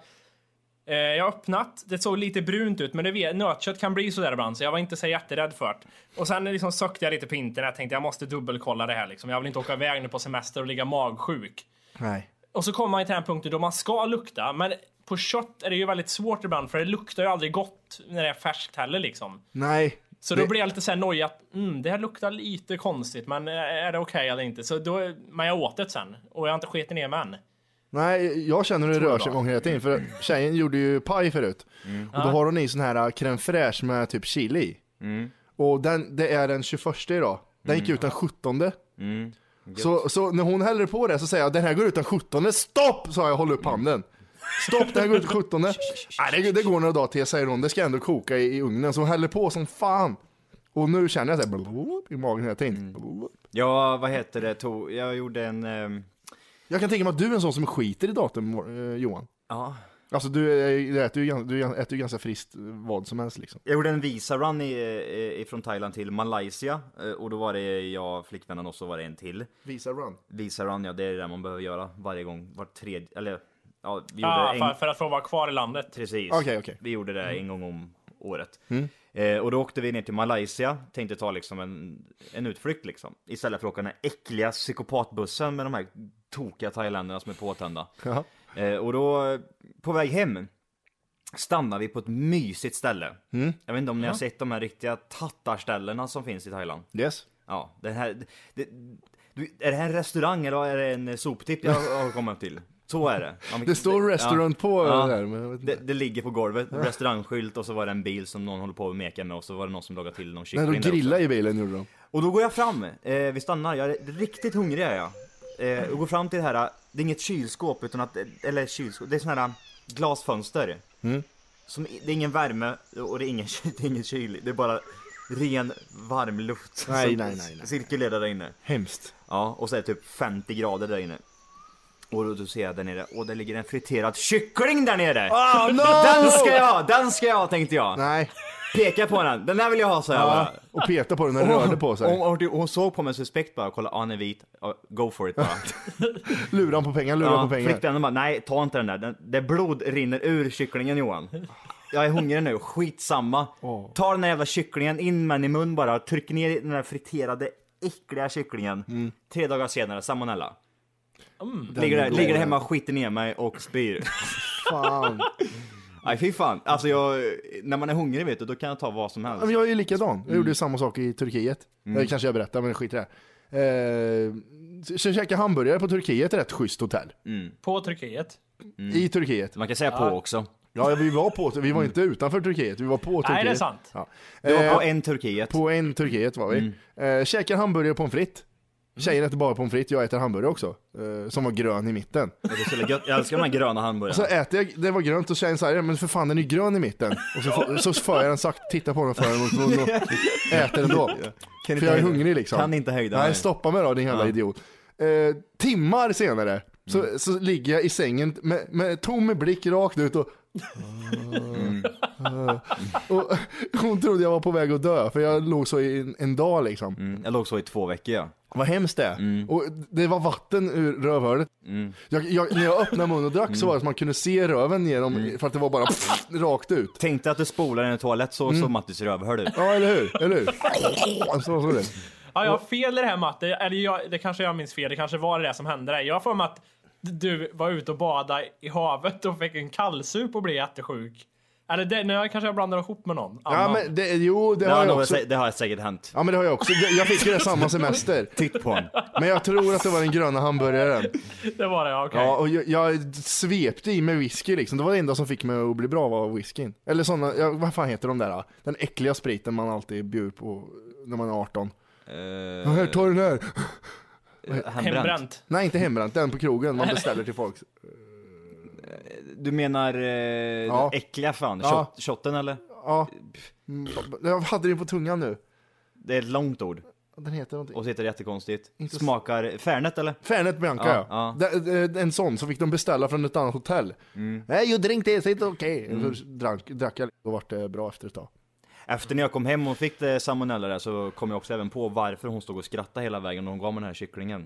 Speaker 5: Eh, jag har öppnat, det såg lite brunt ut, men det vet, nötkött kan bli sådär ibland, så jag var inte så jätterädd för det. Och sen liksom sökte jag lite på internet, tänkte jag måste dubbelkolla det här liksom. Jag vill inte åka iväg nu på semester och ligga magsjuk.
Speaker 2: Nej.
Speaker 5: Och så kommer man till den här punkten då man ska lukta, men på kött är det ju väldigt svårt ibland, för det luktar ju aldrig gott när det är färskt heller liksom.
Speaker 2: Nej.
Speaker 5: Så
Speaker 2: Det-
Speaker 5: då blir jag lite såhär nojig att mm, det här luktar lite konstigt, men eh, är det okej eller inte? Så då, men jag åt det sen och jag har inte skitit ner mig än.
Speaker 2: Nej, jag känner hur det rör sig många hela tiden. För tjejen gjorde ju paj förut. Och då har hon i sån här äh, crème fraîche med typ chili i. Och den, det är den 21 idag. Den gick ut den 17. Så, så när hon häller på det så säger jag den här går ut den 17. Stopp! Sa jag, håll upp handen. Stopp, den här går ut den 17. Nej, det, det går några dagar till, säger hon. Det ska ändå koka i, i ugnen. Så hon häller på som fan. Och nu känner jag såhär i magen hela tiden.
Speaker 1: Ja, vad heter det? Tog, jag gjorde en... ehm,
Speaker 2: Jag kan tänka mig att du är en sån som skiter i datum, eh, Johan.
Speaker 1: ja.
Speaker 2: Alltså du, är- du, äter ju, gan- du äter ju ganska friskt eh, vad som helst liksom.
Speaker 1: Jag gjorde en visa-run i, eh, ifrån Thailand till Malaysia. eh, Och då var det jag, flickvännen och så var det en till.
Speaker 2: Visa run.
Speaker 1: Visa-run, ja det är det man behöver göra varje gång. Var tredje, eller... Ja, vi gjorde
Speaker 5: Ah,
Speaker 1: en,
Speaker 5: för, för att få vara kvar i landet.
Speaker 1: Precis.
Speaker 2: Okej, okej. Mm.
Speaker 1: Vi gjorde det en gång om året. Eh, och då åkte vi ner till Malaysia, tänkte ta liksom en, en utflykt liksom. Istället för att åka den här äckliga psykopatbussen med de här tokiga thailändarna som är påtända.
Speaker 2: Ja.
Speaker 1: Eh, och då, eh, på väg hem, stannar vi på ett mysigt ställe.
Speaker 2: Mm.
Speaker 1: Jag vet inte om ni har sett de här riktiga tattarställena som finns i Thailand?
Speaker 2: Yes.
Speaker 1: Ja, det här... Det, du, är det här en restaurang eller är det en soptipp jag har kommit till? Så är det. Ja, men-
Speaker 2: Det står restaurant på
Speaker 1: Ja.
Speaker 2: det där. Men jag vet
Speaker 1: det,
Speaker 2: inte.
Speaker 1: det ligger på golvet, restaurangskylt och så var det en bil som någon håller på att meka med och så var det någon som lagade till någon
Speaker 2: Nej,
Speaker 1: kyckling
Speaker 2: de
Speaker 1: där
Speaker 2: grillade
Speaker 1: också.
Speaker 2: i bilen gjorde de.
Speaker 1: Och då går jag fram, eh, vi stannar, jag är riktigt hungrig är jag. Eh, och går fram till det här, det är inget kylskåp utan att, eller kylskåp, det är sådana här um, glasfönster.
Speaker 2: Mm.
Speaker 1: Som, det är ingen värme och det är ingen, ky- det är ingen kyl, det är bara ren varm luft
Speaker 2: Nej,
Speaker 1: som
Speaker 2: nej, nej, nej.
Speaker 1: cirkulerar där inne.
Speaker 2: Hemskt.
Speaker 1: Ja, och så är det typ 50 grader där inne. Och då- då ser jag där nere, och det ligger en friterad kyckling där nere!
Speaker 2: Ah, no!
Speaker 1: Den ska jag ha, den ska jag ha tänkte jag.
Speaker 2: Nej.
Speaker 1: Peka på den, den där vill jag ha sa jag bara.
Speaker 2: Och peta på den när den rörde på sig.
Speaker 1: Hon, hon, hon såg på mig suspekt bara, kolla, ah, han är vit, Ja, go for it bara.
Speaker 2: Lura på pengar, lura
Speaker 1: ja,
Speaker 2: på pengar.
Speaker 1: Flickvännen bara, nej ta inte den där, den, det blod rinner ur kycklingen Johan. Jag är hungrig nu, skitsamma. Ta den där jävla kycklingen, in med den i mun bara, tryck ner i den där friterade äckliga kycklingen.
Speaker 2: Mm.
Speaker 1: Tre dagar senare, salmonella. Ligger där,
Speaker 2: går.
Speaker 1: ligger där hemma, skiter ner mig och spyr.
Speaker 2: Fan.
Speaker 1: Nej fy fan, alltså jag, när man är hungrig vet du, då kan jag ta vad som
Speaker 2: Ja, men
Speaker 1: helst.
Speaker 2: jag är ju likadan. Jag gjorde ju samma sak i Turkiet. Det kanske jag berättar, men skit i det. Eh, så- så jag käkade hamburgare på Turkiet, rätt schysst hotell.
Speaker 5: På Turkiet.
Speaker 2: I Turkiet.
Speaker 1: Man kan säga på också.
Speaker 2: Ja, vi var på, vi var inte utanför Turkiet, vi var på Turkiet.
Speaker 5: det är sant.
Speaker 2: Ja.
Speaker 1: Det var på Mm.
Speaker 2: Eh,
Speaker 1: en Turkiet.
Speaker 2: På en Turkiet var vi. Eh, käkar hamburgare och pommes frites.
Speaker 1: Mm.
Speaker 2: Tjejen äter bara pommes frites, jag äter hamburgare också. Eh, som var grön i mitten.
Speaker 1: Det är så jävla gött. Jag älskar de här gröna hamburgarna.
Speaker 2: Så äter jag, det var grönt och tjejen säger men för fan den är ju grön i mitten. Och så, så för jag den sakta, tittar på den för den och, och, och äter den då.
Speaker 1: Kan
Speaker 2: Alltså, För
Speaker 1: inte
Speaker 2: jag är
Speaker 1: hejda-
Speaker 2: hungrig liksom.
Speaker 1: Kan inte hejda
Speaker 2: Nej,
Speaker 1: mig.
Speaker 2: stoppa mig då din jävla idiot. Eh, timmar senare så, så ligger jag i sängen med, med tom blick rakt ut och Mm. och hon trodde jag var på väg att dö för jag låg så i en, en dag liksom.
Speaker 1: Mm, Jag låg så i två veckor ja.
Speaker 2: Vad hemskt det är. Och det var vatten ur rövhålet. Jag, jag, när jag öppnade munnen och drack så var det som att man kunde se röven genom för att det var bara pff, rakt ut.
Speaker 1: Tänkte att du spolar en toalett så
Speaker 2: Mm.
Speaker 1: såg Mattis rövhål ut.
Speaker 2: Ja, eller hur? Eller hur? Så, så det.
Speaker 5: Ja, jag har fel i det här Matte. Eller jag, det kanske jag minns fel. Det kanske var det där som hände dig. Jag får mig att du var ute och badade i havet och fick en kallsup och blev jättesjuk. Eller det, nu kanske jag blandar ihop med någon
Speaker 2: Ja,
Speaker 5: annan.
Speaker 2: men det, jo, det
Speaker 1: Det
Speaker 2: har
Speaker 1: har,
Speaker 2: jag
Speaker 1: nog
Speaker 2: också.
Speaker 1: sä- det har säkert hänt. Eh,
Speaker 2: Ja, men det har jag också. Jag- Jag fick ju det samma semester.
Speaker 1: Titt på honom.
Speaker 2: Men jag tror att det var den gröna hamburgaren.
Speaker 5: Det var det, ja, okej.
Speaker 2: Ja, och jag, jag svepte i mig whisky liksom. Det var det enda som fick mig att bli bra var whiskyn. Eller sådana, ja, vad fan heter de där? då? Den äckliga spriten man alltid bjuder på när man är 18. Ja, här, ta den här.
Speaker 1: Hembränt.
Speaker 5: Hembränt.
Speaker 2: Nej, inte hembränt. Den på krogen man beställer till folk.
Speaker 1: Du menar eh, den äckliga fan?
Speaker 2: Ja.
Speaker 1: Shot, shotten eller?
Speaker 2: Ja. Mm, Jag hade det på tungan nu.
Speaker 1: Det är ett långt ord.
Speaker 2: Den heter någonting.
Speaker 1: Och sitter jättekonstigt.
Speaker 2: Inte s-
Speaker 1: Smakar Fernet eller?
Speaker 2: Fernet Bianca
Speaker 1: Ja,
Speaker 2: ja.
Speaker 1: ja. Mm.
Speaker 2: De- de- En sån som fick de beställa från ett annat hotell. Nej, you drink this, it's okay. Så drank, drack jag och vart det bra efter ett tag.
Speaker 1: Efter när jag kom hem och fick det salmonella där så kom jag också även på varför hon stod och skrattade hela vägen när hon gav mig den här kycklingen.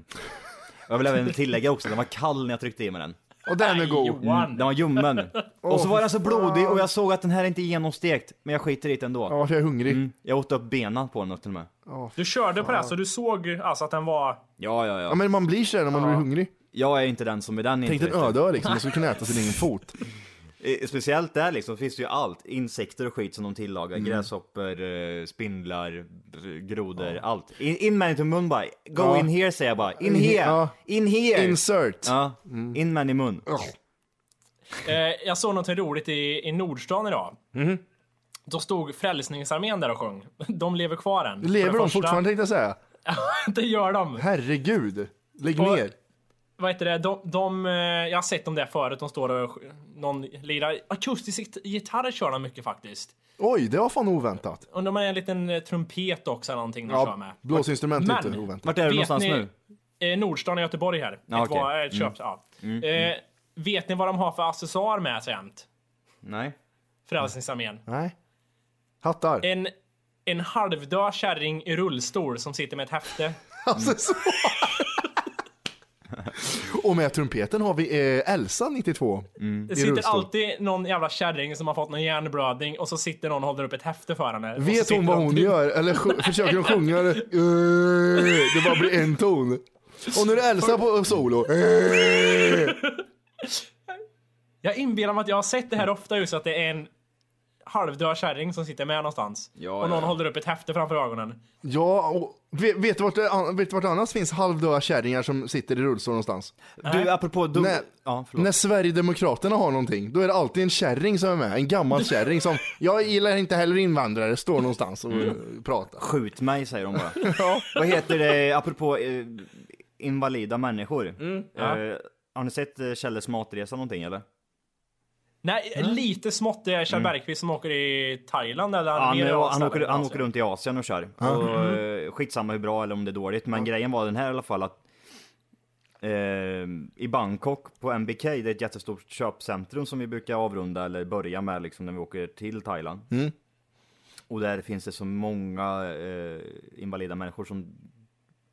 Speaker 1: Och jag vill även tillägga också, den var kall när jag tryckte i mig den.
Speaker 2: Och den är god. Mm.
Speaker 5: Johan!
Speaker 1: Den var ljummen. och så var den så blodig och jag såg att den här är inte genomstekt, men jag skiter i det ändå.
Speaker 2: Ja, för jag är hungrig.
Speaker 1: Mm, jag åt upp benen på den till och med.
Speaker 5: Du körde på det här, så du såg alltså att den var...
Speaker 1: Ja, ja,
Speaker 2: Ja,
Speaker 1: ja.
Speaker 2: men man blir sådär när man blir hungrig.
Speaker 1: Jag är inte den som är den
Speaker 2: Tänk dig en
Speaker 1: riktigt.
Speaker 2: ödöa liksom, man skulle kunna äta sin egen fot.
Speaker 1: Eh, Speciellt där liksom finns det ju allt. Insekter och skit som de tillagar.
Speaker 2: Mm.
Speaker 1: Gräshoppor, eh, spindlar, b- grodor, allt. In, in med i mun bara. Go
Speaker 2: Ja.
Speaker 1: in here säger jag bara. In
Speaker 2: In-
Speaker 1: here!
Speaker 2: ja. Mm.
Speaker 1: In here!
Speaker 2: Insert.
Speaker 1: ja, in med i mun.
Speaker 5: Eh, jag såg något roligt i, i Nordstan idag.
Speaker 2: Mhm.
Speaker 5: Då stod Frälsningsarmén där och sjöng. De lever kvar än. för
Speaker 2: Lever
Speaker 5: det
Speaker 2: de
Speaker 5: första.
Speaker 2: fortfarande tänkte jag säga.
Speaker 5: det gör de.
Speaker 2: Herregud. Lägg
Speaker 5: Och-
Speaker 2: ner.
Speaker 5: Vad heter det? De, de, eh, jag har sett dem där förut. De står och sj- någon lirar. Akustisk git- gitarr kör de mycket faktiskt.
Speaker 2: Oj, det var fan oväntat.
Speaker 5: Undrar om det är en liten eh, trumpet också eller någonting de kör med.
Speaker 2: Ja, blåsinstrument är
Speaker 5: Men-
Speaker 2: inte oväntat.
Speaker 1: Vart är du
Speaker 5: Vet
Speaker 1: någonstans
Speaker 5: ni-
Speaker 1: nu?
Speaker 5: Eh, Nordstan i Göteborg här.
Speaker 1: Ja,
Speaker 5: ett
Speaker 1: okej.
Speaker 5: var, ett
Speaker 2: Mm.
Speaker 5: köpt, ja. eh, vet ni vad de har för accessoar med sig jämt?
Speaker 1: Nej.
Speaker 5: Frälsningsarmén.
Speaker 2: Nej. Hattar.
Speaker 5: En, en halvdöd kärring i rullstol som sitter med ett
Speaker 1: Mm.
Speaker 5: häfte.
Speaker 2: Alltså så. Och med trumpeten har vi eh, Elsa 92.
Speaker 5: Mm. Det sitter
Speaker 2: rullstol.
Speaker 5: alltid någon jävla kärring som har fått någon hjärnblödning och så sitter någon och håller upp ett häfte för henne. Och så
Speaker 2: Vet
Speaker 5: sitter
Speaker 2: hon vad
Speaker 5: de-
Speaker 2: hon gör? Eller sj- försöker hon sjunga? eller? Eh, Det bara blir en ton. Och nu är det Elsa på solo. Eh.
Speaker 5: Jag inbillar mig att jag har sett det här ofta just att det är en halvdöd kärring som sitter med någonstans.
Speaker 1: Ja,
Speaker 5: och
Speaker 1: ja,
Speaker 5: någon
Speaker 1: ja.
Speaker 5: håller upp ett häfte framför ögonen.
Speaker 2: Ja, och vet, vet, du vart det, an- vet du vart annars finns halvdöda kärringar som sitter i rullstol någonstans?
Speaker 1: Du, apropå... Du...
Speaker 2: Nej.
Speaker 1: Ja, förlåt.
Speaker 2: När Sverigedemokraterna har någonting, då är det alltid en kärring som är med. En gammal kärring som, jag gillar inte heller invandrare, står någonstans och
Speaker 1: Mm.
Speaker 2: eh, pratar.
Speaker 1: Skjut mig säger de bara. Vad heter det, apropå eh, invalida människor.
Speaker 5: Mm, ja.
Speaker 1: eh, har ni sett eh, Kjelles matresa någonting eller?
Speaker 5: Nej, lite smått. Det är Kjell Bergqvist som åker i Thailand eller
Speaker 1: Mm. Ja, Han, eh,
Speaker 5: nere i
Speaker 1: han,
Speaker 5: Asien,
Speaker 1: åker,
Speaker 5: eller
Speaker 1: han
Speaker 5: Asien. Mm.
Speaker 1: åker runt i Asien och kör. Och, eh, skitsamma hur bra eller om det är dåligt. Men grejen var den här i alla fall att eh, i Bangkok på MBK, det är ett jättestort köpcentrum som vi brukar avrunda eller börja med liksom när vi åker till Thailand.
Speaker 5: Mm.
Speaker 1: Och där finns det så många eh, invalida människor som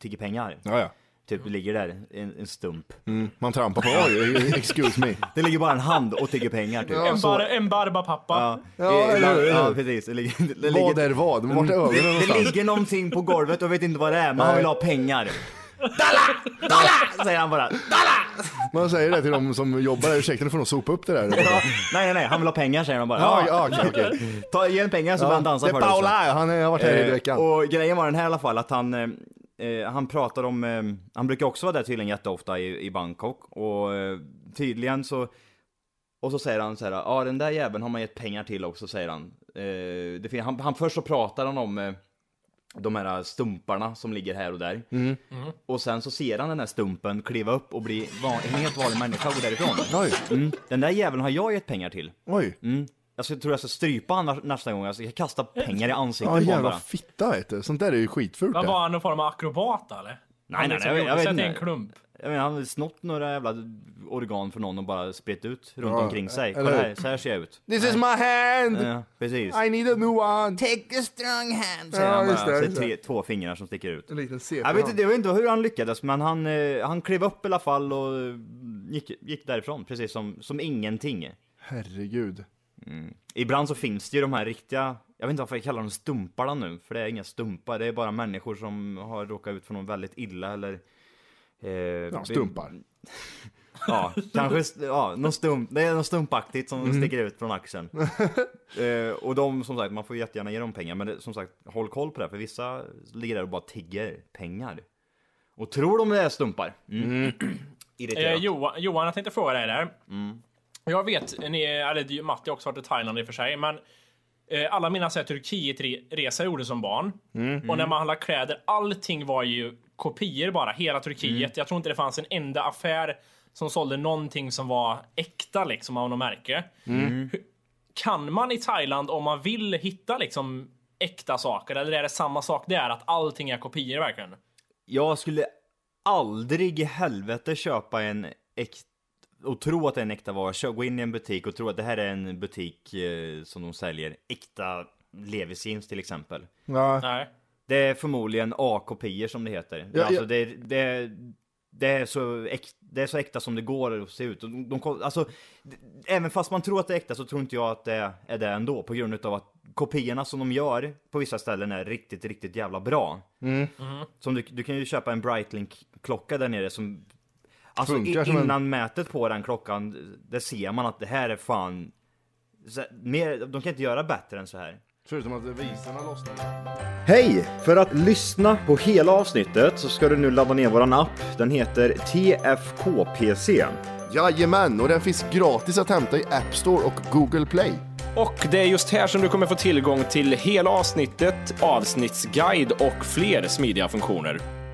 Speaker 1: tigger pengar.
Speaker 2: Ja, ja.
Speaker 1: Typ ligger där, en, en stump.
Speaker 2: Mm, man trampar på, oj, e-, excuse me.
Speaker 1: Det ligger bara en hand och tigger pengar typ.
Speaker 5: En, bar, en barbapappa.
Speaker 1: Ja,
Speaker 2: Ja,
Speaker 1: i-
Speaker 2: eller hur?
Speaker 1: ja precis. Det ligger, det
Speaker 2: Vad
Speaker 1: ligger,
Speaker 2: är vad? Vart är
Speaker 1: det,
Speaker 2: ögonen
Speaker 1: det
Speaker 2: någonstans?
Speaker 1: ligger någonting på golvet och jag vet inte vad det är, men han
Speaker 2: Nej.
Speaker 1: vill ha pengar. Dalla! Dalla! Säger han bara.
Speaker 2: Man säger det till de som jobbar där, ursäkta nu får de sopa upp det där.
Speaker 1: Ja, nej, nej, nej, han vill ha pengar säger han bara.
Speaker 2: Ja,
Speaker 1: Ja,
Speaker 2: ja, okej, okej.
Speaker 1: Ta, ge en pengar så får han dansa
Speaker 2: det
Speaker 1: för
Speaker 2: är
Speaker 1: dig också.
Speaker 2: Paula, han har varit här i
Speaker 1: Eh,
Speaker 2: veckan.
Speaker 1: och grejen var den här i alla fall att han, eh, eh, han pratar om, eh, han brukar också vara där tydligen jätteofta i, i Bangkok och eh, tydligen så, och så säger han så här, ja ah, den där jäveln har man gett pengar till också säger han. Eh, det fin- han, han först så pratar han om eh, de här stumparna som ligger här och där.
Speaker 2: Mm.
Speaker 1: Och sen så ser han den här stumpen kliva upp och bli van, en helt vanlig människa och gå därifrån.
Speaker 2: Oj,
Speaker 1: Mm. Den där jäveln har jag gett pengar till.
Speaker 2: oj.
Speaker 1: Mm. Jag ska- tror jag ska strypa honom nästa gång, jag ska kasta pengar i ansiktet
Speaker 2: Ja,
Speaker 1: på honom bara.
Speaker 2: jävla fitta vet du. Sånt där är ju skitfult.
Speaker 5: Vad
Speaker 2: det.
Speaker 5: var han någon form av akrobat eller?
Speaker 1: Nej,
Speaker 5: Han
Speaker 1: nej,
Speaker 5: liksom
Speaker 1: nej,
Speaker 5: gjorde
Speaker 1: jag
Speaker 5: sig
Speaker 1: vet
Speaker 5: till
Speaker 1: inte.
Speaker 5: en klump.
Speaker 1: Jag menar, han har snott några jävla organ från någon och bara spritt ut runt
Speaker 2: Ja,
Speaker 1: omkring sig.
Speaker 2: eller
Speaker 1: Kolla
Speaker 2: hur?
Speaker 1: här, så här ser jag ut.
Speaker 2: This is my hand!
Speaker 1: Ja, precis.
Speaker 2: I need a new one!
Speaker 1: Take a strong hand, säger
Speaker 2: Ja,
Speaker 1: han bara.
Speaker 2: just det,
Speaker 1: så
Speaker 2: just
Speaker 1: det är tre, två fingrar som sticker ut.
Speaker 2: En liten
Speaker 1: Jag vet, inte,
Speaker 2: CP.
Speaker 1: jag vet inte hur han lyckades, men han, eh, han klev upp i alla fall och eh, gick, gick därifrån, precis som, som ingenting.
Speaker 2: Herregud.
Speaker 1: Ibland så finns det ju de här riktiga, jag vet inte varför jag kallar dem stumparna nu, för det är inga stumpar, det är bara människor som har råkat ut för något väldigt illa eller... Eh,
Speaker 2: Ja, stumpar.
Speaker 1: Ja, Mm. kanske st- ja, någon stump, det är något stumpaktigt som sticker ut från axeln. eh, och de som sagt, man får jättegärna ge dem pengar, men det, som sagt, håll koll på det här, för vissa ligger där och bara tigger pengar. Och tror de det är stumpar. Mm.
Speaker 5: Eh,
Speaker 1: Irriterat.
Speaker 5: Johan, Johan, jag tänkte fråga dig där. Jag vet, ni, eller det är ju- Matti har också varit i Thailand i och för sig, men eh, alla mina så här Turkiet-resa jag gjorde som barn. Och när man handlade kläder, allting var ju kopior bara, hela Turkiet. Jag tror inte det fanns en enda affär som sålde någonting som var äkta liksom av något märke. Hur- Kan man i Thailand, om man vill, hitta liksom äkta saker? Eller är det samma sak där, att allting är kopior verkligen?
Speaker 1: Jag skulle aldrig i helvete köpa en äkta och tro att det är en äkta vara. Kö- Gå in i en butik och tro att det här är en butik eh, som de säljer äkta leverjeans till exempel.
Speaker 2: Ja.
Speaker 5: Nej.
Speaker 1: Det är förmodligen A-kopior som det heter.
Speaker 2: Ja,
Speaker 1: alltså
Speaker 2: ja.
Speaker 1: Det, är- det, är- det, är så äk, det är så äkta som det går att se ut. Och De, de, kom- alltså, d- även fast man tror att det är äkta så tror inte jag att det är det ändå. På grund av att kopiorna som de gör på vissa ställen är riktigt, riktigt jävla bra.
Speaker 2: Mm.
Speaker 1: Som du, du kan ju köpa en Brightlink-klocka där nere som... Alltså i,
Speaker 2: Funkar som en-
Speaker 1: innan mätet på den klockan, där ser man att det här är fan... Så, här, mer, de kan inte göra bättre än så här.
Speaker 2: Förutom att visorna lossnar.
Speaker 1: Hej! För att lyssna på hela avsnittet så ska du nu ladda ner våran app. Den heter TFKPC.
Speaker 2: Jajamän, och den finns gratis att hämta i App Store och Google Play.
Speaker 7: Och det är just här som du kommer få tillgång till hela avsnittet, avsnittsguide och fler smidiga funktioner.